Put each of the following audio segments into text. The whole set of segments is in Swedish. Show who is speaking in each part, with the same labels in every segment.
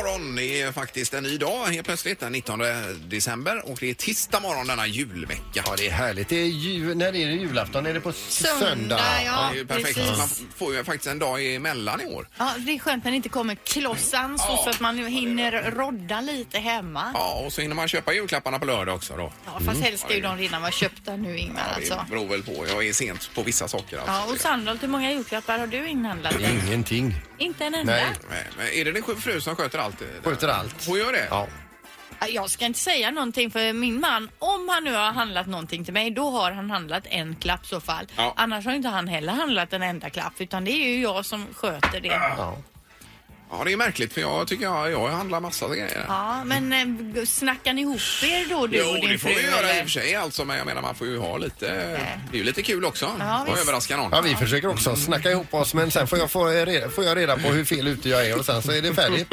Speaker 1: är faktiskt en ny dag helt plötsligt, den 19 december. Och det är tisdag morgon denna julvecka.
Speaker 2: Ja, det är härligt. Det är ju, när är det julafton? Är det på söndag?
Speaker 1: Det
Speaker 3: ja.
Speaker 1: är ju perfekt.
Speaker 3: precis.
Speaker 1: Man får ju faktiskt en dag emellan i år.
Speaker 3: Ja, det är skönt när det inte kommer klossans och så att man nu hinner rodda lite hemma.
Speaker 1: Ja, Mm. och så hinner man köpa julklapparna på lördag också då.
Speaker 3: Ja, fast helst ska ju de redan vara köpta nu Ingmar alltså.
Speaker 1: Det beror väl på. Jag är sent på vissa saker.
Speaker 3: Ja, och
Speaker 1: Alltså.
Speaker 3: Sandholt, hur många julklappar har du inhandlat?
Speaker 1: Mm.
Speaker 2: Ingenting.
Speaker 3: Inte en enda?
Speaker 2: Nej.
Speaker 1: Men- men är det din fru som sköter allt?
Speaker 2: Sköter allt.
Speaker 1: Hon gör det?
Speaker 2: Ja.
Speaker 3: Ja, Jag ska inte säga någonting för min man, om han nu har handlat någonting till mig, då har han handlat en klapp i så fall.
Speaker 1: Ja.
Speaker 3: Annars har inte han heller handlat en enda klapp, utan det är ju jag som sköter det.
Speaker 2: ja.
Speaker 1: Ja, det är märkligt för jag tycker jag, jag handlar massa grejer.
Speaker 3: Ja, men eh, snackar ni ihop er då du
Speaker 1: Jo,
Speaker 3: och din
Speaker 1: det får
Speaker 3: fru?
Speaker 1: vi göra i
Speaker 3: eller?
Speaker 1: och för sig alltså, men jag menar man får ju ha lite, det är ju lite kul också.
Speaker 3: Ja,
Speaker 1: och
Speaker 3: visst.
Speaker 1: överraska någon.
Speaker 2: Ja, vi försöker också snacka ihop oss men sen får jag, få reda, får jag reda på hur fel ute jag är och sen så är det färdigt.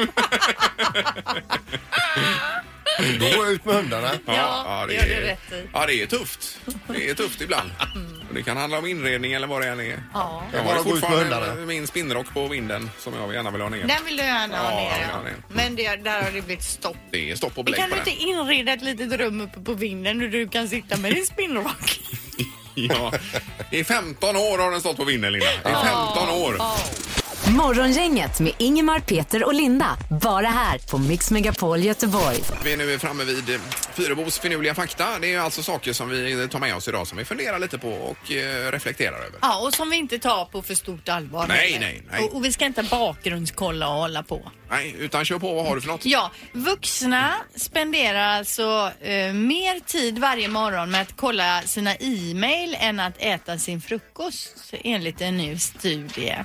Speaker 2: Då går jag ut med hundarna.
Speaker 3: Ja, det gör du rätt i. Mm.
Speaker 1: Ja, det är tufft. Det är tufft ibland. Och det kan handla om inredning eller vad det än är.
Speaker 3: Ja.
Speaker 1: Jag
Speaker 2: Bara
Speaker 1: har
Speaker 2: gå ut med
Speaker 1: fortfarande
Speaker 2: hundarna.
Speaker 1: min spinnrock på vinden som jag gärna vill ha ner.
Speaker 3: Den vill du gärna ha
Speaker 1: Ja,
Speaker 3: ner.
Speaker 1: ja,
Speaker 3: Ja,
Speaker 1: det.
Speaker 3: Men det, där har det blivit stopp.
Speaker 1: Det är stopp och
Speaker 3: Men
Speaker 1: belägg
Speaker 3: kan
Speaker 1: på
Speaker 3: du
Speaker 1: den.
Speaker 3: inte inreda ett litet rum uppe på vinden och du kan sitta med din spinnrock?
Speaker 1: Ja. I 15 år har den stått på vinden, Linda. I 15 år.
Speaker 4: Morgongänget med Ingemar, Peter och Linda. Bara här på Mix Megapol Göteborg.
Speaker 1: Vi är nu framme vid eh, Fyrebos finurliga fakta. Det är alltså saker som vi tar med oss idag som vi funderar lite på och eh, reflekterar över.
Speaker 3: Ja, och som vi inte tar på för stort allvar.
Speaker 1: Nej,
Speaker 3: heller.
Speaker 1: nej, nej.
Speaker 3: Och, och vi ska inte bakgrundskolla och hålla på.
Speaker 1: Nej, utan kör på. Vad har du för något?
Speaker 3: Ja, vuxna spenderar alltså eh, mer tid varje morgon med att kolla sina e-mail än att äta sin frukost enligt en ny studie.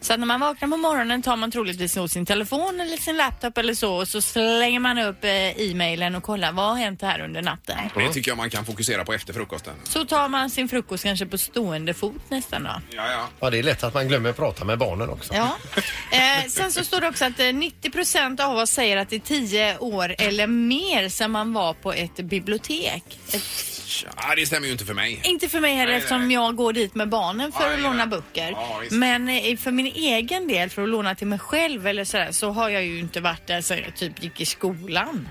Speaker 3: Så att när man vaknar på morgonen tar man troligtvis nog sin telefon eller sin laptop eller så och så slänger man upp eh, e-mailen och kollar vad har hänt här under natten.
Speaker 1: Det tycker jag man kan fokusera på efter frukosten.
Speaker 3: Så tar man sin frukost kanske på stående fot nästan då.
Speaker 1: Ja, ja.
Speaker 2: Ja, det är lätt att man glömmer prata med barnen också.
Speaker 3: Ja. Eh, sen så står det också att eh, 90 av oss säger att det är 10 år eller mer sedan man var på ett bibliotek. Ett,
Speaker 1: Ja, det stämmer ju inte för mig.
Speaker 3: inte för mig heller
Speaker 1: Nej,
Speaker 3: eftersom
Speaker 1: nej.
Speaker 3: jag går dit med barnen för
Speaker 1: Ja,
Speaker 3: att
Speaker 1: ja.
Speaker 3: låna böcker.
Speaker 1: Ja, visst.
Speaker 3: Men eh, för min egen del, för att låna till mig själv eller sådär, så har jag ju inte varit där sedan jag typ gick i skolan.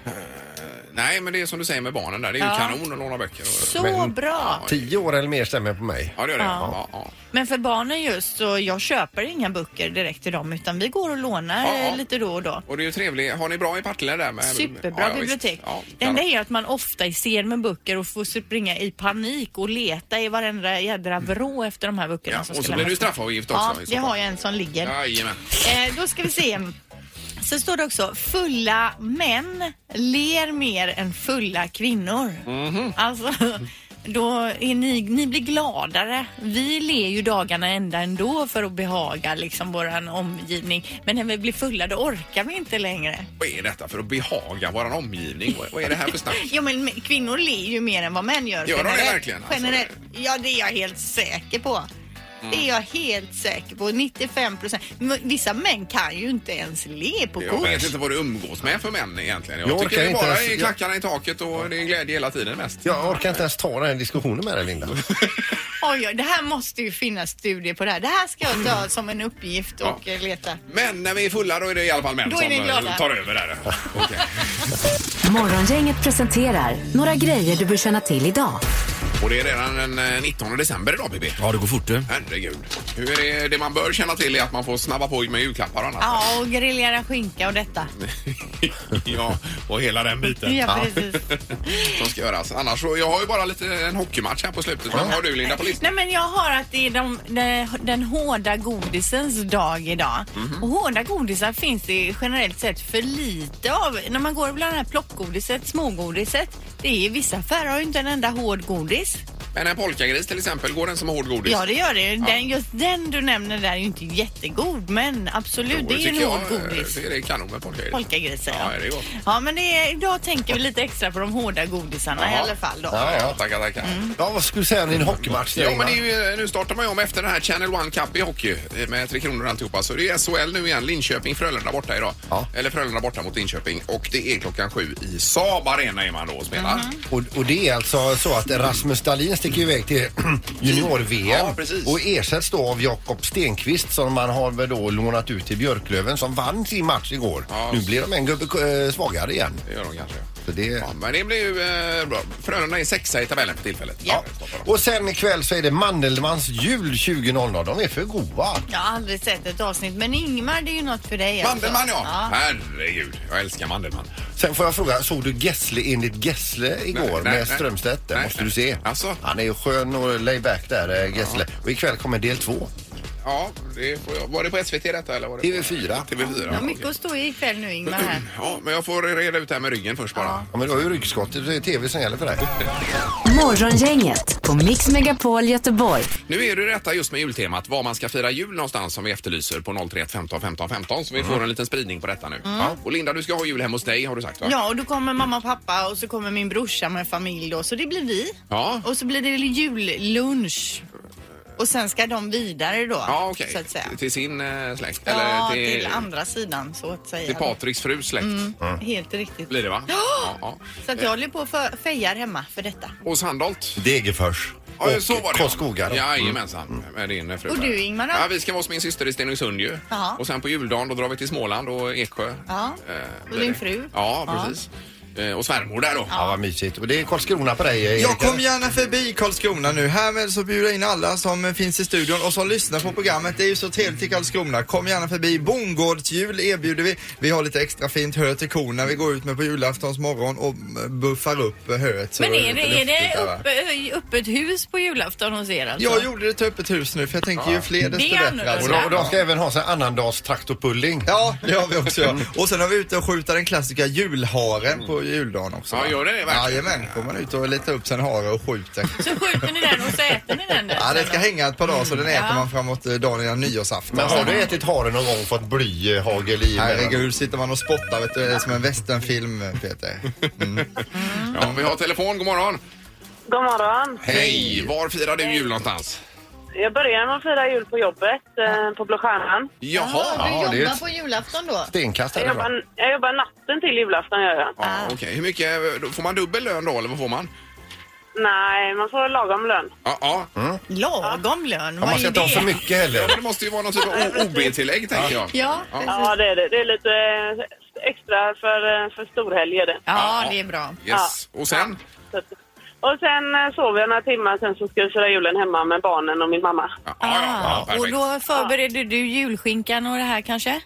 Speaker 1: Nej, men det är som du säger med barnen där. Det är ju
Speaker 3: Ja.
Speaker 1: kanon att låna böcker. Och...
Speaker 3: Så
Speaker 2: Men-
Speaker 3: bra!
Speaker 2: Tio år eller mer stämmer på mig.
Speaker 1: Ja, det gör det. Ja.
Speaker 3: Ja.
Speaker 1: Ja,
Speaker 3: Men för barnen just, så jag köper inga böcker direkt till dem utan vi går och lånar
Speaker 1: Ja, ja.
Speaker 3: eh, lite då och då.
Speaker 1: Och det är ju trevligt. Har ni bra i Partille där? Med...
Speaker 3: Superbra
Speaker 1: visst.
Speaker 3: bibliotek.
Speaker 1: Ja,
Speaker 3: det enda
Speaker 1: kanon.
Speaker 3: är att man ofta ser med böcker och får springa i panik och leta i varenda jädra vrå efter de här böckerna.
Speaker 1: Mm. Ja,
Speaker 3: som
Speaker 1: och
Speaker 3: ska
Speaker 1: så blir det ju
Speaker 3: lämnas.
Speaker 1: straffavgift också.
Speaker 3: Ja,
Speaker 1: i så
Speaker 3: det
Speaker 1: fall.
Speaker 3: har jag en som ligger.
Speaker 1: Jajamän.
Speaker 3: Eh, då ska vi se. Så står det också fulla män ler mer än fulla kvinnor.
Speaker 1: Mhm.
Speaker 3: Alltså, då är ni, ni blir gladare. Vi ler ju dagarna ända ändå för att behaga liksom våran omgivning. Men när vi blir fulla då orkar vi inte längre.
Speaker 1: Vad är detta för att behaga vår omgivning? Vad- Vad är det här för snack?
Speaker 3: Jo men kvinnor ler ju mer än vad män gör.
Speaker 1: Gör de det
Speaker 3: generellt.
Speaker 1: verkligen, alltså?
Speaker 3: Generellt. Ja det är jag helt säker på. Det är jag helt säker på. 95 procent. Vissa män kan ju inte ens le på
Speaker 1: Jag vet
Speaker 3: kurs.
Speaker 1: inte vad du umgås med för män egentligen. Jag,
Speaker 2: Jag
Speaker 1: tycker
Speaker 2: orkar
Speaker 1: det
Speaker 2: inte
Speaker 1: bara
Speaker 2: ens-
Speaker 1: är klackarna i taket och det är glädje hela tiden mest.
Speaker 2: Jag orkar inte ens ta den här diskussionen med dig Linda.
Speaker 3: Oj, oj, det här måste ju finnas studier på det här. Det här ska jag ta som en uppgift och eh, leta.
Speaker 1: Men när vi är fulla då är det i alla fall män
Speaker 3: Då är
Speaker 1: som
Speaker 3: ni glada.
Speaker 1: eh, tar över där. Okej.
Speaker 4: Morgongänget presenterar några grejer du bör känna till idag.
Speaker 1: Och det är redan den eh, 19 december idag BB.
Speaker 5: Ja, det går fort du.
Speaker 1: Herregud. Hur är det, det man bör känna till är att man får snabba på med julklappar och annat.
Speaker 3: Ja, och grillera skinka och detta.
Speaker 1: ja, och hela den biten
Speaker 3: Ja, precis.
Speaker 1: som ska göras. Annars så, jag har ju bara lite en hockeymatch här på slutet. Vad har du Linda på listan?
Speaker 3: Nej men jag har att det är de, de, den hårda godisens dag idag.
Speaker 1: Mhm.
Speaker 3: Och hårda godisar finns det generellt sett för lite av. När man går bland det här plockgodiset, smågodiset. Det är vissa affärer har ju inte en enda hård godis.
Speaker 1: Men en polkagris till exempel, går den som hård godis?
Speaker 3: Ja det gör det. Den, just den du nämner där är ju inte jättegod men absolut
Speaker 1: Jo,
Speaker 3: det är ju
Speaker 1: tycker
Speaker 3: en hård
Speaker 1: jag, eh,
Speaker 3: godis.
Speaker 1: Det är kanon med polkagris.
Speaker 3: Polkagrisar
Speaker 1: Ja, det är gott.
Speaker 3: Ja men det är, idag tänker vi lite extra på de hårda godisarna i
Speaker 1: Jaha.
Speaker 3: alla fall då. Mm.
Speaker 2: Ja, ja.
Speaker 1: Tackar, tackar.
Speaker 2: ja vad skulle du säga din hockeymatch?
Speaker 1: Ja, men det är ju, eh, nu startar man ju om efter den här Channel One Cup i hockey eh, med Tre Kronor och alltihopa. Så det är SHL nu igen. Linköping-Frölunda borta idag.
Speaker 2: Ja.
Speaker 1: Eller Frölunda borta mot Linköping. Och det är klockan sju i Saab Arena är man då och spelar.
Speaker 2: Och, och det är alltså så att Rasmus Dahlin sticker ju iväg till junior-VM
Speaker 1: Ja, precis.
Speaker 2: och ersätts då av Jakob Stenqvist som man har väl då lånat ut till Björklöven som vann sin match igår.
Speaker 1: Ja.
Speaker 2: Nu blir de en gubbe eh, svagare igen.
Speaker 1: Det gör de kanske.
Speaker 2: Så det...
Speaker 1: Ja, men det blir ju eh, bra. Frölunda är sexa i tabellen för tillfället.
Speaker 3: Ja.
Speaker 1: Stoppar dem.
Speaker 2: Och sen ikväll så är det Mandelmans jul 20.00. De är för goa.
Speaker 3: Jag har aldrig sett ett avsnitt, men Ingmar, det är ju något för dig. alltså.
Speaker 1: Mandelmann ja. Herregud, jag älskar Mandelmann.
Speaker 2: Sen får jag fråga, såg du Gessle enligt Gessle igår
Speaker 1: Nej, nej,
Speaker 2: med
Speaker 1: nej.
Speaker 2: Strömstedt? Det
Speaker 1: Nej,
Speaker 2: måste
Speaker 1: nej.
Speaker 2: du se.
Speaker 1: Alltså?
Speaker 2: Han är ju skön och layback där, eh, Gessle. Och ikväll kommer del två.
Speaker 1: Ja, det får jag. Var det på SVT detta eller? Var det
Speaker 2: TV4.
Speaker 1: På... TV4.
Speaker 3: Du har
Speaker 1: okej.
Speaker 3: mycket att stå i ikväll nu, Ingmar. Här.
Speaker 1: Ja, men jag får reda ut det här med ryggen först bara.
Speaker 2: Ja, men du har ju ryggskottet, det är tv som gäller för dig.
Speaker 4: Morgongänget på Mix Megapol Göteborg.
Speaker 1: Nu är det ju detta just med jultemat, var man ska fira jul någonstans som vi efterlyser på 031 15 15 15 så vi
Speaker 3: Mm.
Speaker 1: får en liten spridning på detta nu. Ja. Och Linda, du ska ha jul hemma hos dig har du sagt va?
Speaker 3: Ja, och då kommer mamma och pappa och så kommer min brorsa med familj då, så det blir vi.
Speaker 1: Ja.
Speaker 3: Och så blir det jullunch. Och sen ska de vidare då,
Speaker 1: Ja, okej.
Speaker 3: så att säga.
Speaker 1: Till sin eh, släkt?
Speaker 3: ja,
Speaker 1: eller
Speaker 3: till, Mm.
Speaker 1: till,
Speaker 3: andra sidan så att säga.
Speaker 1: till Patriks frus släkt?
Speaker 3: Helt riktigt.
Speaker 1: Blir det va? Ja, ja.
Speaker 3: Så att jag håller på och för- fejar hemma för detta.
Speaker 1: Och Sandholt?
Speaker 2: Degerfors
Speaker 1: Ja,
Speaker 2: och
Speaker 1: så var det.
Speaker 2: Karlskoga. då. Mm.
Speaker 1: Jajamensan. Med din fru.
Speaker 3: Och du, Ingmar, då?
Speaker 1: Ja, vi ska vara hos min syster i Stenungsund ju.
Speaker 3: Jaha.
Speaker 1: Och sen på juldagen då drar vi till Småland och Eksjö.
Speaker 3: Ja.
Speaker 1: Eh,
Speaker 3: Och
Speaker 1: blir
Speaker 3: din
Speaker 1: det.
Speaker 3: fru.
Speaker 1: Ja,
Speaker 3: Ja.
Speaker 1: precis. Eh, Och svärmor där då.
Speaker 2: Ja, vad mysigt. Och det är Karlskrona på dig, Erik.
Speaker 5: Jag kommer gärna förbi Karlskrona nu. Härmed så bjuder jag in alla som eh, finns i studion och som lyssnar på programmet. Det är ju så trevligt i Karlskrona. Kom gärna förbi. Bondgårdsjul erbjuder vi. Vi har lite extra fint hö till korna vi går ut med på julaftons morgon och eh, buffar upp eh, höet. så
Speaker 3: Men är
Speaker 5: lite
Speaker 3: det, är
Speaker 5: luftigt
Speaker 3: det
Speaker 5: där, va?
Speaker 3: uppe, öppet hus på julafton hos er alltså?
Speaker 5: Jag gjorde det till öppet hus nu för jag tänker ju fler
Speaker 3: Det
Speaker 5: desto
Speaker 3: är
Speaker 5: bättre.
Speaker 3: annorlunda.
Speaker 2: Och
Speaker 5: Alltså.
Speaker 2: de, och de ska även ha sig annandags traktorpulling.
Speaker 5: Ja, det har vi också.
Speaker 1: Mm.
Speaker 5: Ja. Och sen har vi ute och skjuta den klassiska julharen på juldagen också.
Speaker 1: Ja,
Speaker 5: va?
Speaker 1: gör det det verkligen?
Speaker 5: Jajamän, får man ut och letar upp sin hare och skjuter.
Speaker 3: Så skjuter ni den och så äter ni den där?
Speaker 5: Ja, det ska hänga ett par dagar så den äter
Speaker 3: Ja.
Speaker 5: man framåt eh, dagen innan nyårsafton.
Speaker 2: Men har du ätit hare någon gång och fått blyhagel i?
Speaker 5: Herregud, sitter man och spottar vet du, det är som en westernfilm Peter.
Speaker 1: Ja, vi har telefon. God morgon.
Speaker 6: God morgon.
Speaker 1: Hej! Var firar du jul nånågonstans?
Speaker 6: Jag börjar med att fira jul på jobbet eh, på Blå Stjärnan.
Speaker 1: Jaha.
Speaker 3: du
Speaker 2: Ja, det är
Speaker 3: jobbar
Speaker 2: ett-
Speaker 3: på julafton då?
Speaker 2: Stenkast
Speaker 6: Jag
Speaker 2: därifrån.
Speaker 6: jobbar, jag jobbar natten till julafton gör jag.
Speaker 1: Ja, Okej, hur mycket? då Får man dubbel lön då eller vad får man?
Speaker 6: Nej, man får lagom lön.
Speaker 1: Ja, ja.
Speaker 3: Lagom lön,
Speaker 2: Ja, man
Speaker 3: vad är
Speaker 2: ska inte ha för
Speaker 3: det?
Speaker 2: mycket heller.
Speaker 1: Men Det måste ju vara någon typ av O- OB-tillägg tänker jag.
Speaker 3: Ja,
Speaker 6: Ja, det är det. Det är lite eh, extra för, eh, för storhelg är det.
Speaker 3: ja, det är bra.
Speaker 1: Yes. Och sen?
Speaker 6: Så att- Och sen eh, sover jag några timmar, sen så ska jag köra julen hemma med barnen och min mamma.
Speaker 1: Ja, ja, ja,
Speaker 3: Ah, och
Speaker 1: perfekt.
Speaker 3: då förbereder du julskinkan och det här kanske?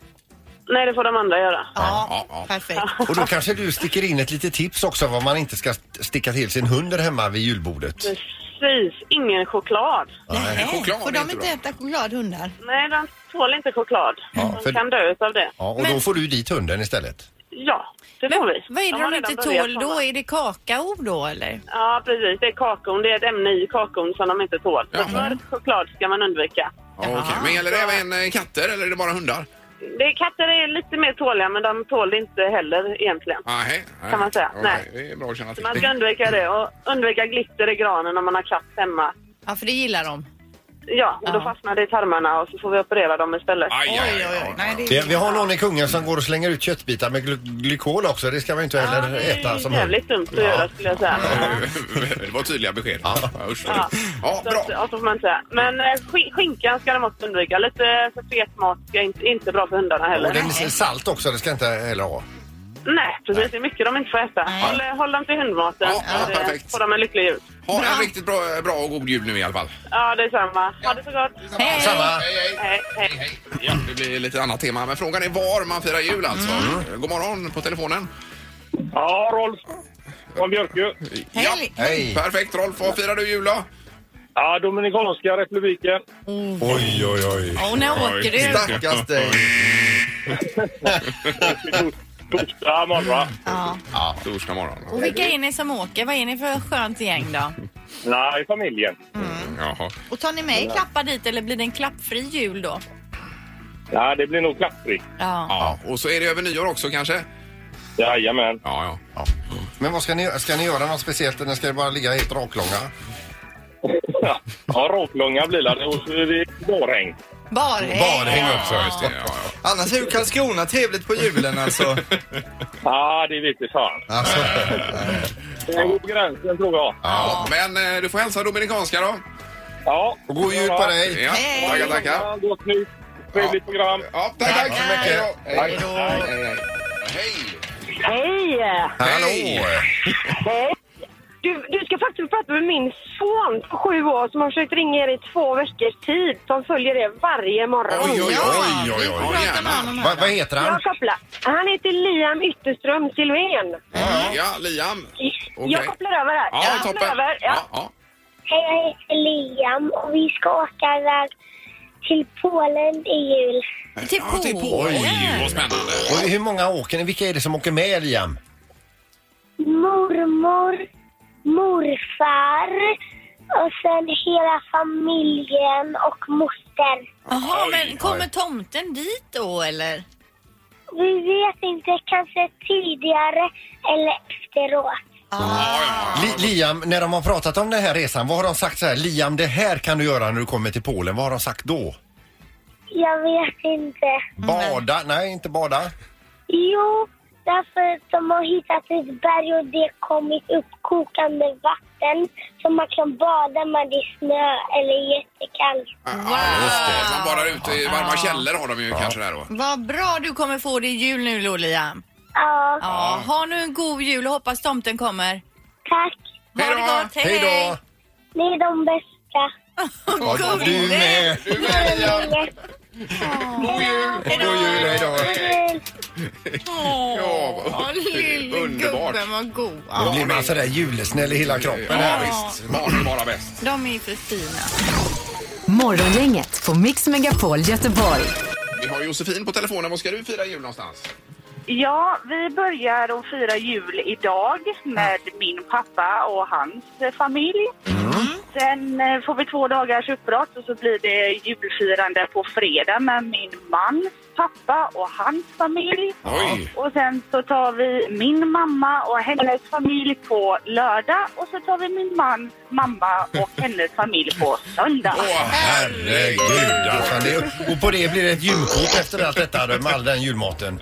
Speaker 6: Nej, det får de andra göra.
Speaker 1: Ja, ja.
Speaker 3: perfekt.
Speaker 2: Och då kanske du sticker in ett litet tips också vad man inte ska st- sticka till sin hund där hemma vid julbordet.
Speaker 6: Mm. Precis, ingen choklad.
Speaker 3: Nej,
Speaker 1: choklad
Speaker 3: får
Speaker 1: är
Speaker 3: de
Speaker 1: inte
Speaker 3: inte
Speaker 1: bra.
Speaker 3: äta chokladhundar?
Speaker 6: Nej, de tål inte choklad.
Speaker 2: Ja, för-
Speaker 6: De kan dö av det.
Speaker 2: Ja, och då
Speaker 3: Men-
Speaker 2: får du dit hunden istället.
Speaker 6: Ja, det
Speaker 3: Men
Speaker 6: får vi.
Speaker 3: vad är det de
Speaker 6: har redan
Speaker 3: inte
Speaker 6: börjat
Speaker 3: tål
Speaker 6: komma.
Speaker 3: då? Är det kakao då eller?
Speaker 6: Ja, precis. Det är kakon. Det är ett ämne i kakon som de inte tål. Så
Speaker 1: Jaha.
Speaker 6: mörk choklad ska man undvika.
Speaker 1: Ja, okej. Men gäller det även eh, katter eller är det bara hundar?
Speaker 6: Det, katter är lite mer tåliga, men de tål det inte heller egentligen.
Speaker 1: Ah, hej.
Speaker 6: Kan man säga.
Speaker 1: Okej,
Speaker 6: Nej.
Speaker 1: Det är bra att känna till.
Speaker 6: Man ska undvika det och undvika glitter i granen om man har katt hemma.
Speaker 3: Ja, för det gillar de.
Speaker 6: Ja, och då
Speaker 3: Ja.
Speaker 6: fastnar det i tarmarna och så får vi operera dem istället.
Speaker 1: Aj, aj, aj, aj,
Speaker 3: Nej, det
Speaker 2: Det, vi har någon i Kungen som går och slänger ut köttbitar med gly- glykol också. Det ska man ju inte
Speaker 6: Ja,
Speaker 2: heller
Speaker 6: det
Speaker 2: äta
Speaker 6: är
Speaker 2: som
Speaker 6: ju
Speaker 2: hund.
Speaker 6: jävligt dumt att göra skulle jag säga.
Speaker 1: Det var tydliga besked. Ja. usch.
Speaker 6: Ja.
Speaker 1: ja,
Speaker 6: Så att,
Speaker 1: bra.
Speaker 6: ja, så får man säga. Men eh, skin- skinkan ska de också undvika. Lite för fet mat ska inte, inte bra för hundarna heller.
Speaker 2: Och den är salt också, det ska inte heller ha.
Speaker 6: Nej, precis. Det är mycket de inte får äta. Håll, eh, håll dem till hundmaten.
Speaker 1: Ja, ja,
Speaker 6: så det-
Speaker 1: perfekt.
Speaker 6: Får de en lycklig jul.
Speaker 1: Ha en riktigt bra, bra och god jul nu i alla fall.
Speaker 6: Ja, detsamma. Ha det så gott.
Speaker 3: Hej.
Speaker 2: Samma.
Speaker 6: Hej, hej.
Speaker 1: Hej. Ja, det blir lite annat tema, men frågan är var man firar jul alltså. God morgon på telefonen.
Speaker 7: Ja, Rolf från Björkö.
Speaker 1: Ja.
Speaker 3: Hej.
Speaker 2: Hej!
Speaker 1: Perfekt Rolf, var firar du jul då?
Speaker 7: Ja, Dominikanska republiken.
Speaker 2: Oj, oj, oj.
Speaker 3: Och när åker du?
Speaker 5: Stackars dig.
Speaker 7: Torsdag morgon.
Speaker 3: Ja.
Speaker 1: Ja. Torsdag morgon.
Speaker 3: Och vilka är ni som åker? Vad är ni för skönt gäng då?
Speaker 7: Nej, familjen.
Speaker 1: Jaha.
Speaker 3: Och tar ni med klappar dit eller blir det en klappfri jul då?
Speaker 7: Nej, det blir nog klappfritt.
Speaker 3: Ja.
Speaker 1: Ja, och så är det över nyår också kanske?
Speaker 7: Jajamän.
Speaker 1: Ja, ja.
Speaker 2: Ja. Men vad ska ni göra? Ska ni göra något speciellt eller ska det bara ligga helt raklånga?
Speaker 7: Ja, raklånga blir det. Och så är det barregn.
Speaker 3: Barhäng.
Speaker 2: Barhäng också,
Speaker 1: Just det, ja, ja.
Speaker 5: Annars är ju Karlskrona trevligt på julen alltså.
Speaker 7: Ja, det vet jag fan.
Speaker 5: alltså.
Speaker 7: Den går på gränsen tror jag.
Speaker 1: Ja, men eh, du får hälsa dominikanska då.
Speaker 7: Ja.
Speaker 2: Och god jul på dig.
Speaker 1: Ja,
Speaker 3: Hej.
Speaker 1: tackar, tackar.
Speaker 7: Gott nytt. Trevligt program.
Speaker 1: Ja, tack, tack.
Speaker 3: Tack.
Speaker 1: Hej då.
Speaker 3: Hej då.
Speaker 1: Hej. Hej.
Speaker 6: Hej!
Speaker 1: Hallå.
Speaker 6: Du, du ska faktiskt prata med min son på sju år som har försökt ringa er i två veckors tid. Som följer er varje morgon.
Speaker 1: Oj, oj,
Speaker 3: Ja,
Speaker 1: oj, oj,
Speaker 3: vi
Speaker 1: oj.
Speaker 3: pratar med honom
Speaker 2: Va, vad
Speaker 3: här.
Speaker 2: heter han?
Speaker 6: Jag kopplar. Han heter Liam Ytterström Silfverstrand.
Speaker 1: Ja, Liam.
Speaker 6: Jag kopplar över här.
Speaker 1: Ja,
Speaker 6: jag kopplar
Speaker 1: toppen.
Speaker 6: över. Ja.
Speaker 1: Ja, ja.
Speaker 8: Hej, jag heter Liam och vi ska åka iväg till Polen i jul.
Speaker 3: Till
Speaker 1: Ja, till Polen. Oj, vad spännande.
Speaker 2: Och hur många åker ni? Vilka är det som åker med Liam?
Speaker 8: Mormor, morfar och sen hela familjen och moster.
Speaker 3: Jaha,
Speaker 1: Oj.
Speaker 3: men kommer tomten dit då eller?
Speaker 8: Vi vet inte, kanske tidigare eller efteråt.
Speaker 2: Li, Liam, när de har pratat om den här resan, vad har de sagt så här? Liam, det här kan du göra när du kommer till Polen. Vad har de sagt då?
Speaker 8: Jag vet inte.
Speaker 2: Mm. Bada? Nej, inte bada.
Speaker 8: Jo, därför att de har hittat ett berg och det kommit upp kokande vatten så man kan bada med det är snö eller jättekallt.
Speaker 1: Ja, just det. Ah. Man bara ute i varma källor har de ju kanske där då.
Speaker 3: Vad bra du kommer få det i jul nu då Liam.
Speaker 8: Ja,
Speaker 3: Ja, ha nu en god jul och hoppas tomten kommer.
Speaker 8: tack.
Speaker 3: Ha det gott, hej!
Speaker 2: Hej då!
Speaker 8: Ni är de bästa.
Speaker 3: Och
Speaker 2: Ja,
Speaker 3: god
Speaker 2: du
Speaker 3: jul.
Speaker 2: med!
Speaker 8: God jul!
Speaker 2: God jul, hej då!
Speaker 1: Ja,
Speaker 3: Åh, lillgubben
Speaker 1: underbart.
Speaker 3: var god.
Speaker 2: Då
Speaker 3: Ja,
Speaker 2: blir man sådär julesnäll i hela kroppen.
Speaker 1: Ja, visst. Barn är bara bäst.
Speaker 3: de är ju för fina.
Speaker 4: Morgongänget på Mix Megapol Göteborg.
Speaker 1: Vi har Josefin på telefonen. Vad ska du fira jul någonstans?
Speaker 6: Ja, vi börjar att fira jul idag med min pappa och hans eh, familj.
Speaker 2: Mm.
Speaker 6: Sen eh, får vi två dagars uppbrott och så blir det julfirande på fredag med min mans pappa och hans familj.
Speaker 1: Oj.
Speaker 6: Och sen så tar vi min mamma och hennes familj på lördag och så tar vi min mans mamma och hennes familj på söndag.
Speaker 1: Åh,
Speaker 2: Herregud alltså. Det, och på det blir det ett julkort efter allt detta med all den julmaten.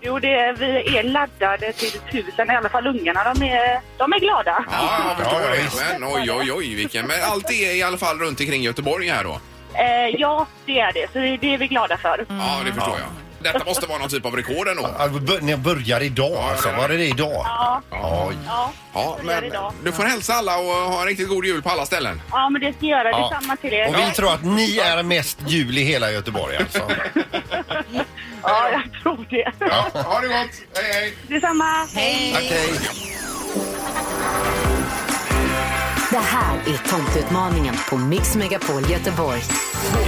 Speaker 6: Jo, det, vi är laddade till tusen, i alla fall ungarna. De är, de är glada.
Speaker 1: Ja, jag förstår
Speaker 2: Ja,
Speaker 1: det.
Speaker 2: visst.
Speaker 1: Men oj, oj, oj, vilken. Men allt det är i alla fall runt omkring Göteborg här då.
Speaker 6: Eh, ja, det är det. Så det det är vi glada för.
Speaker 2: Mm.
Speaker 1: Ja, det förstår jag. Detta måste vara någon typ av rekord ändå.
Speaker 2: Ja, vi Alltså, bör- Ni börjar idag alltså. Var är det idag?
Speaker 6: Ja,
Speaker 2: Oj.
Speaker 6: ja.
Speaker 1: Ja,
Speaker 6: börjar
Speaker 1: men
Speaker 6: idag.
Speaker 1: du får hälsa alla och ha en riktigt god jul på alla ställen.
Speaker 6: ja, men det ska jag göra.
Speaker 2: Ja.
Speaker 6: Detsamma till er.
Speaker 2: Och vi tror att ni är mest jul i hela Göteborg alltså.
Speaker 6: Ja, jag tror det.
Speaker 1: Ja, ha det gott! Hej, hej!
Speaker 6: Detsamma.
Speaker 3: Hej!
Speaker 2: Okej.
Speaker 4: Det här är tomteutmaningen på Mix Megapol Göteborg.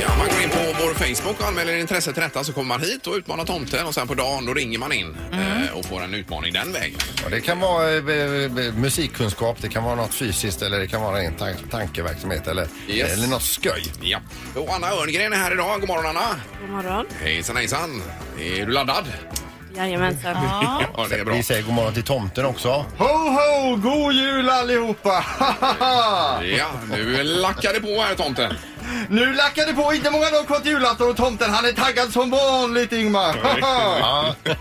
Speaker 1: Ja, man går in på vår Facebook och anmäler intresse till detta så kommer man hit och utmanar tomten och sen på dagen då ringer man in eh, och får en utmaning den vägen.
Speaker 2: Och Det kan vara eh, b- b- musikkunskap, det kan vara något fysiskt eller det kan vara en tan- tankeverksamhet eller,
Speaker 1: Yes.
Speaker 2: eller något skoj.
Speaker 1: Ja. Och Anna Örngren är här idag. God morgon Anna!
Speaker 9: God morgon.
Speaker 1: Hejsan hejsan! Är du laddad?
Speaker 9: Jajamensan.
Speaker 1: Ja, det är bra.
Speaker 2: Vi säger god morgon till tomten också.
Speaker 5: Ho, ho! God jul allihopa! Hahaha!
Speaker 1: Ja, nu lackar det på här tomten.
Speaker 5: nu lackar det på, inte många dagar kvar till julafton och tomten han är taggad som vanligt Ingmar. Haha!
Speaker 2: Ja,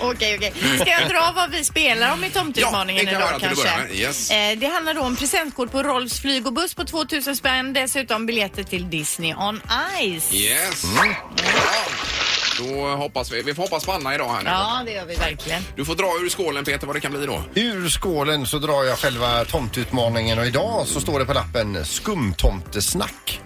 Speaker 3: Okej, okej. Ska jag dra vad vi spelar om i tomteutmaningen
Speaker 1: Ja, det kan
Speaker 3: idag
Speaker 1: jag göra till att
Speaker 3: kanske?
Speaker 1: börja med. Yes.
Speaker 3: Eh, Det handlar då om presentkort på Rolfs flyg och buss på 2000 spänn. Dessutom biljetter till Disney on Ice.
Speaker 1: Yes.
Speaker 3: Mm.
Speaker 1: Ja. Då hoppas vi. Vi får hoppas på Anna idag här nu.
Speaker 3: Ja, det gör vi verkligen.
Speaker 1: Du får dra ur skålen Peter vad det kan bli då.
Speaker 2: Ur skålen så drar jag själva tomtutmaningen och idag så står det på lappen skumtomtesnack.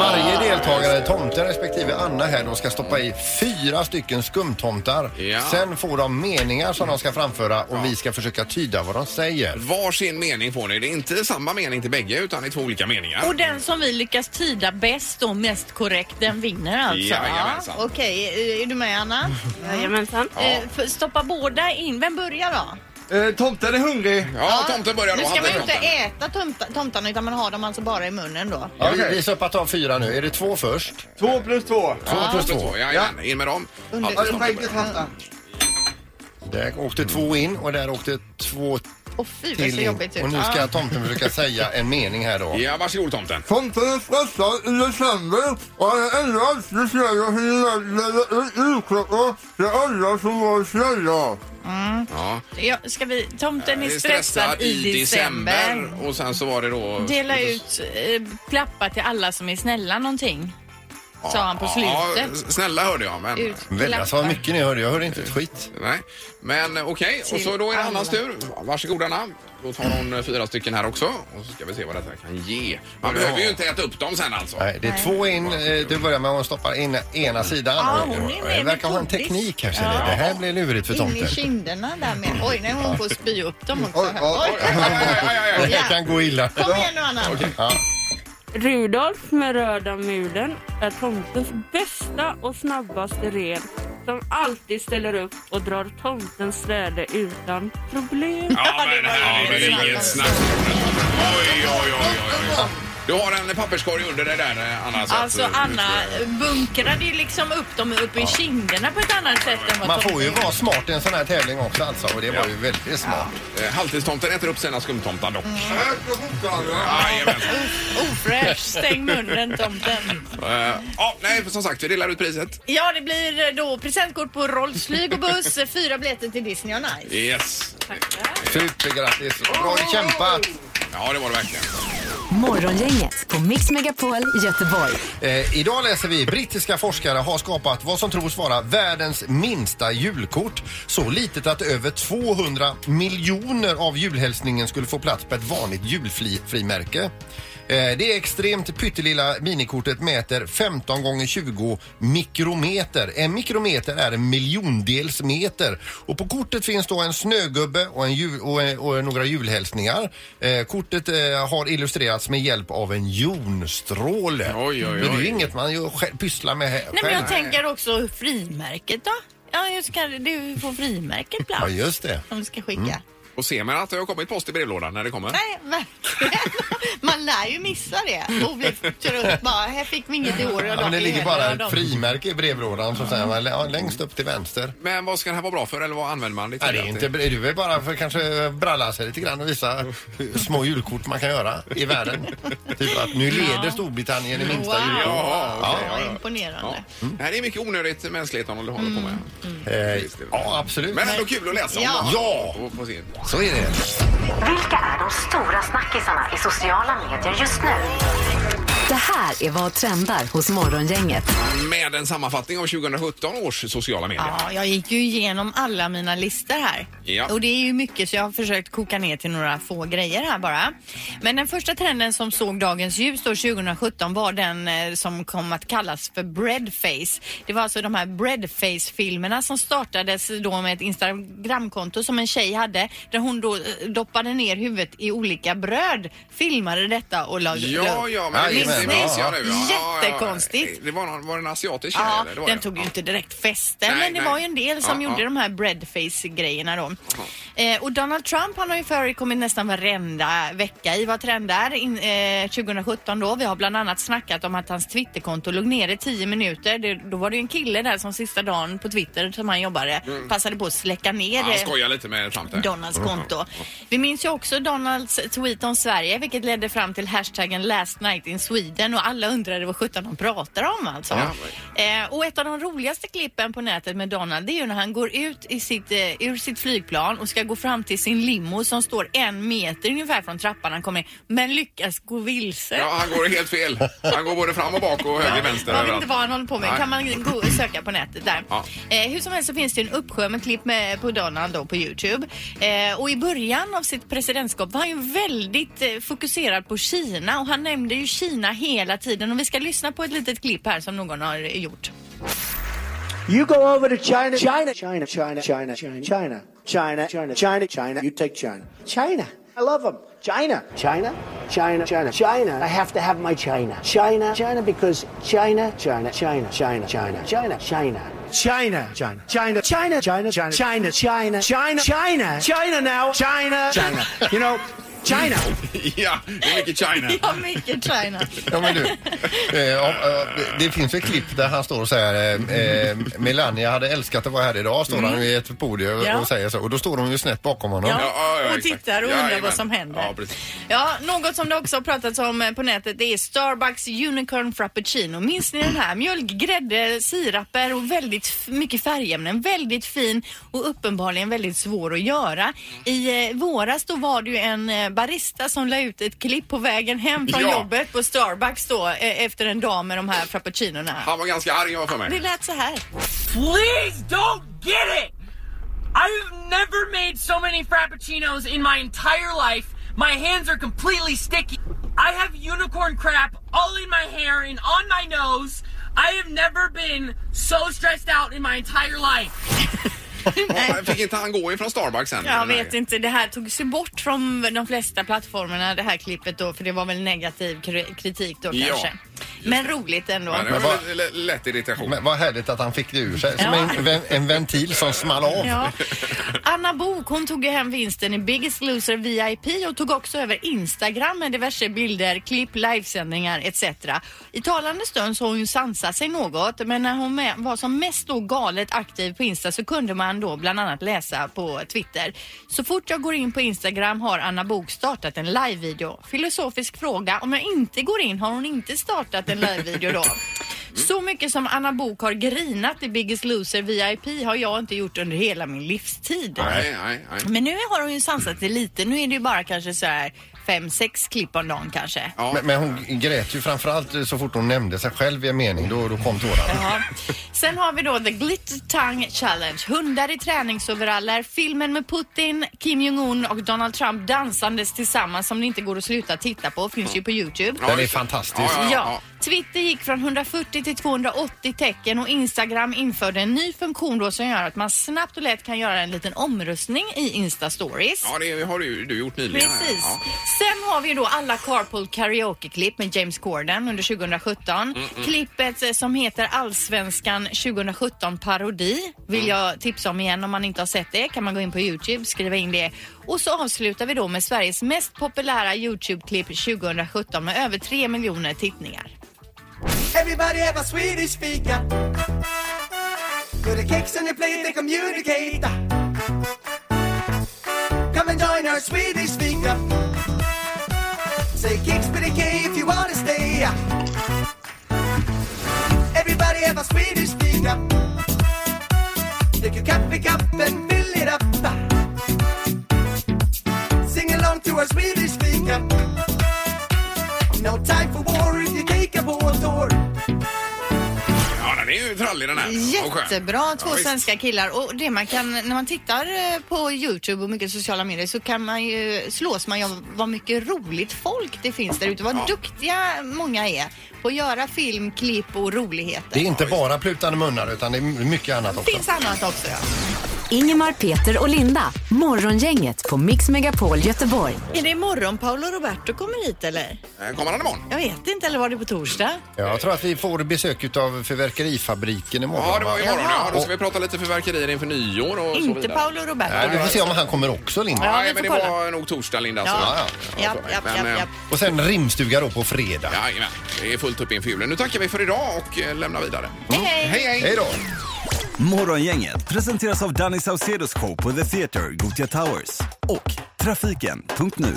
Speaker 2: Varje deltagare, tomten respektive Anna här då, ska stoppa i fyra stycken skumtomtar.
Speaker 1: Ja.
Speaker 2: Sen får de meningar som de ska framföra och vi ska försöka tyda vad de säger.
Speaker 1: Varsin mening får ni. Det är inte samma mening till bägge utan det är två olika meningar.
Speaker 3: Och den som vi lyckas tyda bäst och mest korrekt, den vinner alltså.
Speaker 1: Jajamensan.
Speaker 3: Okej, eh, är du med Anna?
Speaker 9: Jajamensan.
Speaker 3: Eh, för- Stoppa båda in. Vem börjar då?
Speaker 5: Eh, tomten är hungrig.
Speaker 1: Ja, tomten börjar då.
Speaker 3: Nu ska
Speaker 1: Han
Speaker 3: man
Speaker 1: blir
Speaker 3: ju inte
Speaker 1: tomten.
Speaker 3: äta tomta- tomtarna utan man har dem alltså bara i munnen då.
Speaker 2: Ja, vi vi ska ta fyra nu. Är det två först? Två
Speaker 5: Två plus två.
Speaker 2: plus
Speaker 1: Så,
Speaker 2: två.
Speaker 1: jajamän. In med dem.
Speaker 3: Under-
Speaker 5: Har du skägget Hanna?
Speaker 2: Där åkte två in och där åkte två
Speaker 3: Och fy vad det
Speaker 2: till
Speaker 3: ser
Speaker 2: in.
Speaker 3: jobbigt ut.
Speaker 2: Och nu
Speaker 3: Ja.
Speaker 2: ska tomten försöka säga en mening här då.
Speaker 1: Ja, varsågod tomten.
Speaker 5: Tomten är stressad i december och han är ändrad. Nu ser jag hur jag lägger ut julklappar till alla som var snälla.
Speaker 1: Ja.
Speaker 3: Ja, ska vi, tomten är
Speaker 1: Vi är
Speaker 3: stressad i december.
Speaker 1: Och sen så var det då...
Speaker 3: Dela ut eh, klappar till alla som är snälla någonting. Sa han på
Speaker 1: Ja,
Speaker 3: slutet.
Speaker 1: snälla hörde jag, men...
Speaker 3: Ut
Speaker 2: Väldigt, så
Speaker 3: klappar.
Speaker 2: mycket ni hörde. Jag hörde inte ett skit.
Speaker 1: Nej. Men eh, okej, och så då är det Annas tur. Varsågod Anna. Då tar hon eh, fyra stycken här också. Och så ska vi se vad detta kan ge. Man behöver ju inte äta upp dem sen alltså.
Speaker 2: Nej, det är två in. eh, Du börjar med att stoppa in ena sidan.
Speaker 3: Ja, hon är med
Speaker 2: Det verkar ha en
Speaker 3: metodiskt.
Speaker 2: teknik här. ser ni. Det här blir lurigt för
Speaker 3: In i
Speaker 2: tomten.
Speaker 3: kinderna där med. Oj, nej, hon får spy upp dem också.
Speaker 2: Oj,
Speaker 3: här.
Speaker 2: oj,
Speaker 3: Oj,
Speaker 1: Aj, aj, aj, aj, aj.
Speaker 2: Det här kan gå illa.
Speaker 3: Kom igen nu, Anna.
Speaker 2: Ja.
Speaker 9: Rudolf med röda mulen är tomtens bästa och snabbaste ren som alltid ställer upp och drar tomtens ställe utan problem.
Speaker 1: Ja, men här är det
Speaker 3: Ja, men-
Speaker 1: inget snack. Oj, oj, oj, oj, oj. Du har en papperskorg under dig där, eh, Anna. så att,
Speaker 3: Alltså,
Speaker 1: eh, du
Speaker 3: Anna
Speaker 1: får-
Speaker 3: bunkrade ju liksom upp dem upp i kinderna på ett annat sätt än vad
Speaker 2: Man får ju
Speaker 3: tomten-
Speaker 2: vara smart i en sån här tävling också alltså. Och det var ju väldigt smart.
Speaker 1: Eh, Halvtidstomten äter upp sina skumtomtar dock.
Speaker 3: Mm.
Speaker 1: Jajamensan.
Speaker 3: Ofräsch. Stäng munnen, tomten.
Speaker 1: Eh, Ja, nej, som sagt, vi delar ut priset.
Speaker 3: Ja, det blir då presentkort på Rolls flyg och buss, fyra biljetter till Disney och Nice.
Speaker 1: Yes.
Speaker 2: Supergrattis! Bra kämpat!
Speaker 1: Ja, det var det verkligen.
Speaker 4: Morgongänget på Mix Megapol Göteborg.
Speaker 2: Eh, idag läser vi brittiska forskare har skapat vad som tros vara världens minsta julkort. Så litet att över 200 miljoner av julhälsningen skulle få plats på ett vanligt julfrimärke. Eh, Det extremt pyttelilla minikortet mäter 15 gånger 20 mikrometer. En mikrometer är en miljondels meter. Och på kortet finns då en snögubbe och, en jul, och, en, och några julhälsningar. Eh, kortet eh, har illustrerats med hjälp av en jonstråle.
Speaker 1: Oj, oj, oj.
Speaker 2: Men det är ju inget man ju själv pysslar med här-
Speaker 3: Nej, men
Speaker 2: själv.
Speaker 3: jag tänker också frimärket då. Ja, jag ska, du får frimärket
Speaker 2: Ja,
Speaker 3: plats
Speaker 2: just det. Mm.
Speaker 3: som ska skicka.
Speaker 1: Och ser man att det har kommit post i brevlådan när det kommer?
Speaker 3: Nej, verkligen. Man lär ju missa det och bli trött. Bara, här fick vi inget i år.
Speaker 2: Ja,
Speaker 3: och
Speaker 2: men det
Speaker 3: de
Speaker 2: ligger
Speaker 3: är
Speaker 2: bara
Speaker 3: hela
Speaker 2: ett
Speaker 3: dagen.
Speaker 2: frimärke i brevlådan som säger man, ja, längst upp till vänster.
Speaker 1: Men vad ska det här vara bra för eller vad använder man det till?
Speaker 2: Nej, det är inte, du är bara för att kanske bralla sig lite grann och visa hur små julkort man kan göra i världen. typ att nu leder Storbritannien i minsta
Speaker 3: Wow.
Speaker 2: julkort.
Speaker 1: Jaha, okej.
Speaker 3: Ja,
Speaker 1: ja, ja.
Speaker 3: imponerande.
Speaker 1: Ja. Det här är mycket onödigt mänskligheten håller håller på med.
Speaker 2: Eh, ja, absolut.
Speaker 1: Men ändå kul att läsa om.
Speaker 3: Mm. Ja.
Speaker 1: ja. På, på sin.
Speaker 2: Så är det.
Speaker 4: Vilka är de stora snackisarna i sociala medier just nu? Det här är vad trendar hos Morgongänget.
Speaker 1: Med en sammanfattning av 2017 års sociala medier.
Speaker 3: Ja, jag gick ju igenom alla mina listor här.
Speaker 1: Ja.
Speaker 3: Och det är ju mycket så jag har försökt koka ner till några få grejer här bara. Men den första trenden som såg dagens ljus då 2017 var den eh, som kom att kallas för breadface. Det var alltså de här breadface-filmerna som startades då med ett Instagramkonto som en tjej hade där hon då eh, doppade ner huvudet i olika bröd, filmade detta och la
Speaker 1: Ja, ja, men
Speaker 2: Jajamän.
Speaker 1: det minns- det minns jag nu. Ja, ja, ja.
Speaker 3: Jättekonstigt.
Speaker 1: Det var, någon, var det en asiatisk tjej?
Speaker 3: Ja,
Speaker 1: eller? Det var
Speaker 3: den
Speaker 1: det.
Speaker 3: tog ju inte direkt fäste,
Speaker 1: Nej,
Speaker 3: men det
Speaker 1: nej.
Speaker 3: var ju en del som
Speaker 1: Ja,
Speaker 3: gjorde
Speaker 1: ja.
Speaker 3: de här breadface-grejerna då. Eh, och Donald Trump han har ju förekommit nästan varenda vecka i Vad trendar in, eh, 2017 då. Vi har bland annat snackat om att hans Twitterkonto låg nere i 10 minuter. Det, då var det ju en kille där som sista dagen på Twitter som han jobbade passade på att släcka ner
Speaker 1: Mm. Ja, Han
Speaker 3: eh,
Speaker 1: skojar lite med Trump där.
Speaker 3: Donalds konto. Vi minns ju också Donalds tweet om Sverige vilket ledde fram till hashtaggen last night in Sweden och alla undrade vad sjutton de pratar om alltså. Eh, och ett av de roligaste klippen på nätet med Donald det är ju när han går ut i sitt, eh, ur sitt flygplan och ska gå fram till sin limo som står en meter ungefär från trappan han kommer in, men lyckas gå vilse.
Speaker 1: Ja, han går helt fel. Han går både fram och bak och höger, vänster.
Speaker 3: Man vet
Speaker 1: överallt.
Speaker 3: inte vad han håller på med.
Speaker 1: Nej.
Speaker 3: Kan man gå och söka på nätet där.
Speaker 1: Ja.
Speaker 3: Eh, hur som helst så finns det ju en uppsjö med klipp med, på Donald då på Youtube. Eh, och i början av sitt presidentskap var han ju väldigt eh, fokuserad på Kina och han nämnde ju Kina hela tiden. Och vi ska lyssna på ett litet klipp här som någon har gjort.
Speaker 10: You go over to China, China, China, China, China, China, China, China, China, China, China. You take China, China. I love them. China, China, China, China, China. I have to have my China, China, China, because China, China, China, China, China, China, China. China, China, China, China, China, China, China, China, China, China, China now, China, China. You know, China!
Speaker 1: ja, det är mycket China.
Speaker 3: Ja, mycket China.
Speaker 2: Ja, men du, eh, ja, ja, det- det finns ju ett klipp där han står och säger eh, eh, Melania hade älskat att vara här idag, står han vid ett podium och,
Speaker 3: Mm. Ja.
Speaker 2: och säger så. Och då står hon ju snett bakom honom.
Speaker 3: Ja, och tittar och undrar vad som händer. Ja, något som det också har pratats om eh, på nätet det är Starbucks Unicorn Frappuccino. Minns ni den här? Mjölk, grädde, siraper och väldigt f- mycket färgämnen. Väldigt fin och uppenbarligen väldigt svår att göra. I eh, våras då var det ju en eh, barista som la ut ett klipp på vägen hem från
Speaker 1: Ja.
Speaker 3: jobbet på Starbucks då eh, efter en dag med de här frappuccinorna.
Speaker 1: Han var ganska arg, jag för mig.
Speaker 3: Det lät så här.
Speaker 11: Please don't get it! I've never made so many frappuccinos in my entire life. My hands are completely sticky. I have unicorn crap all in my hair and on my nose. I have never been so stressed out in my entire life.
Speaker 1: Men Fick inte han gå ifrån Starbucks sen?
Speaker 3: Jag
Speaker 1: Den här-
Speaker 3: vet inte, det här togs ju bort från de flesta plattformarna det här klippet då för det var väl negativ kri- kritik då
Speaker 1: Ja,
Speaker 3: kanske. Men roligt ändå.
Speaker 1: Men det var väl l- l- lätt irritation.
Speaker 2: Men vad härligt att han fick det ur sig. Som
Speaker 3: Ja.
Speaker 2: en, ven- en ventil som small av.
Speaker 3: Ja. Anna Bok, hon tog ju hem vinsten i Biggest Loser VIP och tog också över Instagram med diverse bilder, klipp, livesändningar etc. I talande stund så har hon ju sansat sig något men när hon med- var som mest då galet aktiv på Insta så kunde man då bland annat läsa på Twitter. Så fort jag går in på Instagram har Anna Bok startat en livevideo. Filosofisk fråga, om jag inte går in har hon inte startat en livevideo då? Så mycket som Anna Bok har grinat i Biggest Loser VIP har jag inte gjort under hela min livstid.
Speaker 1: Nej, nej, nej.
Speaker 3: Men nu har hon ju sansat det lite. Nu är det ju bara kanske så här fem, sex klipp om dagen kanske.
Speaker 2: Men, men hon grät ju framförallt så fort hon nämnde sig själv i en mening. Då, då kom tårarna.
Speaker 3: Ja. Sen har vi då The Glitter Tongue Challenge. Hundar i träningsoveraller, filmen med Putin, Kim Jong-Un och Donald Trump dansandes tillsammans som det inte går att sluta titta på. Finns ju på Youtube.
Speaker 2: Den är fantastisk.
Speaker 1: Ja, ja, ja.
Speaker 3: Ja, Twitter gick från 140 till 280 tecken och Instagram införde en ny funktion då som gör att man snabbt och lätt kan göra en liten omröstning i Insta Stories.
Speaker 1: Ja, det har du, du gjort nyligen. här.
Speaker 3: Precis.
Speaker 1: Ja.
Speaker 3: Sen har vi ju då alla Carpool Karaoke-klipp med James Corden under 2017.
Speaker 1: Mm,
Speaker 3: Klippet eh, som heter Allsvenskan 2017 parodi vill
Speaker 1: Mm.
Speaker 3: jag tipsa om igen. Om man inte har sett det kan man gå in på Youtube, skriva in det. Och så avslutar vi då med Sveriges mest populära Youtube-klipp 2017 med över 3 miljoner tittningar.
Speaker 12: Everybody have a Swedish fika. Put the cakes on the plate, they communicate. Come and join our Swedish fika. Say kicks with a K if you wanna stay. Everybody have a Swedish fika. Take your cup, pick up and fill it up. Sing along to our Swedish fika. No time for war if you take a war tour.
Speaker 1: Ja, den är ju trallig den här. Och skön.
Speaker 3: Jättebra, två
Speaker 1: Ja, visst.
Speaker 3: svenska killar. Och det man kan, när man tittar eh, på Youtube och mycket sociala medier så kan man ju, slås man ju av vad mycket roligt folk det finns där ute. Vad duktiga många är på att göra film, klipp och roligheter.
Speaker 2: Det är inte bara plutande munnar utan det är mycket annat också.
Speaker 3: Det finns annat också ja.
Speaker 4: Ingemar, Peter och Linda. Morgongänget på Mix Megapol Göteborg.
Speaker 3: Är det imorgon Paolo Roberto kommer hit eller?
Speaker 1: Eh, Kommer han imorgon?
Speaker 3: Jag vet inte, eller var det på torsdag?
Speaker 2: Ja, Jag tror att vi får besök av Fyrverkerifabriken imorgon.
Speaker 1: Ja, det var
Speaker 2: va?
Speaker 1: imorgon. Ja, då ska
Speaker 2: Och-
Speaker 1: vi prata lite fyrverkerier inför nyår och så
Speaker 3: Inte
Speaker 1: vidare.
Speaker 3: Paolo Roberto.
Speaker 2: Nej, vi får se om han kommer också, Linda.
Speaker 3: Ja, vi
Speaker 1: Nej, men det
Speaker 3: får kolla.
Speaker 1: var nog torsdag, Linda. så-
Speaker 3: Ja, ja,
Speaker 1: för mig.
Speaker 3: ja, ja,
Speaker 1: Men, eh,
Speaker 3: ja.
Speaker 2: Och sen rimstuga då på fredag.
Speaker 1: Jajamän, det är fullt upp inför julen. Nu tackar vi för idag och eh, lämnar vidare.
Speaker 3: Hej, hej!
Speaker 2: Hej då!
Speaker 13: Morgongänget presenteras av Danny Saucedos show på The Theatre, Gothia Towers och Trafiken.nu.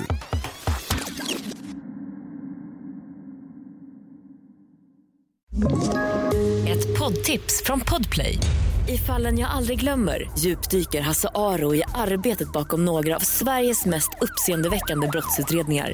Speaker 14: Ett poddtips från Podplay. I fallen jag aldrig glömmer djupdyker Hasse Aro i arbetet bakom några av Sveriges mest uppseendeväckande brottsutredningar.